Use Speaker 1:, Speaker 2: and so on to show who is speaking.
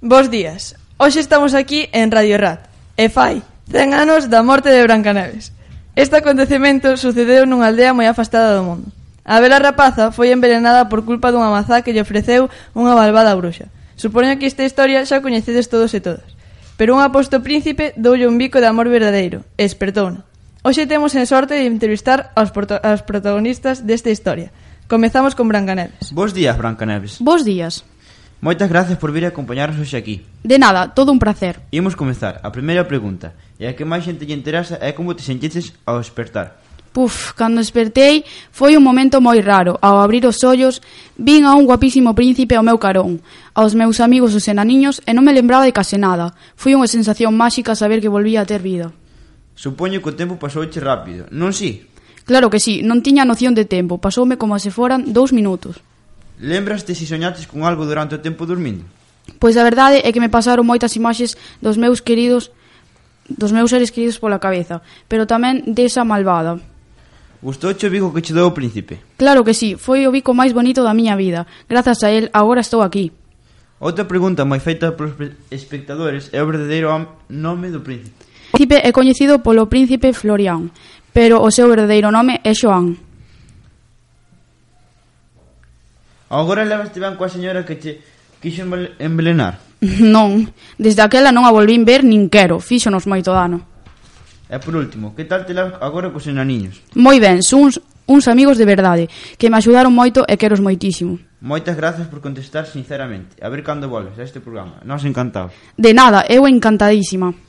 Speaker 1: Bos días. Hoxe estamos aquí en Radio Rat e fai 100 anos da morte de Brancaneves. Este acontecemento sucedeu nunha aldea moi afastada do mundo. A vela rapaza foi envenenada por culpa dunha mazá que lle ofreceu unha malvada bruxa. Supoño que esta historia xa a coñecedes todos e todas. Pero un aposto príncipe doulle un bico de amor verdadeiro e espertouno. Hoxe temos en sorte de entrevistar aos, porto- aos protagonistas desta historia. Comezamos con Brancaneves.
Speaker 2: Bos días, Brancaneves.
Speaker 3: Bos días.
Speaker 2: Moitas gracias por vir acompañarnos hoxe aquí.
Speaker 3: De nada, todo un placer.
Speaker 2: Imos comezar. A primeira pregunta, e a que máis xente lle interesa é como te sentiches ao despertar.
Speaker 3: Puf, cando despertei foi un momento moi raro. Ao abrir os ollos, vin a un guapísimo príncipe ao meu carón, aos meus amigos os enaniños e non me lembraba de case nada. Foi unha sensación máxica saber que volvía a ter vida.
Speaker 2: Supoño que o tempo pasouche rápido, non si?
Speaker 3: Claro que sí, non tiña noción de tempo, pasoume como se foran dous minutos.
Speaker 2: Lembraste se soñaches con algo durante o tempo dormindo?
Speaker 3: Pois a verdade é que me pasaron moitas imaxes dos meus queridos dos meus seres queridos pola cabeza, pero tamén desa malvada.
Speaker 2: Gustouche o bico que che dou o príncipe?
Speaker 3: Claro que sí, foi o bico máis bonito da miña vida. Grazas a el, agora estou aquí.
Speaker 2: Outra pregunta moi feita polos pe- espectadores é o verdadeiro am- nome do príncipe.
Speaker 3: O príncipe é coñecido polo príncipe Florian, pero o seu verdadeiro nome é Joan.
Speaker 2: Agora levaste ben coa señora que che quixo embel- envelenar.
Speaker 3: Non, desde aquela non a volvín ver nin quero, fíxonos moito dano.
Speaker 2: E por último, que tal te levas agora cos enaniños?
Speaker 3: Moi ben, son uns, uns amigos de verdade, que me axudaron moito e queros moitísimo.
Speaker 2: Moitas grazas por contestar sinceramente. A ver cando volves a este programa. Nos encantados.
Speaker 3: De nada, eu encantadísima.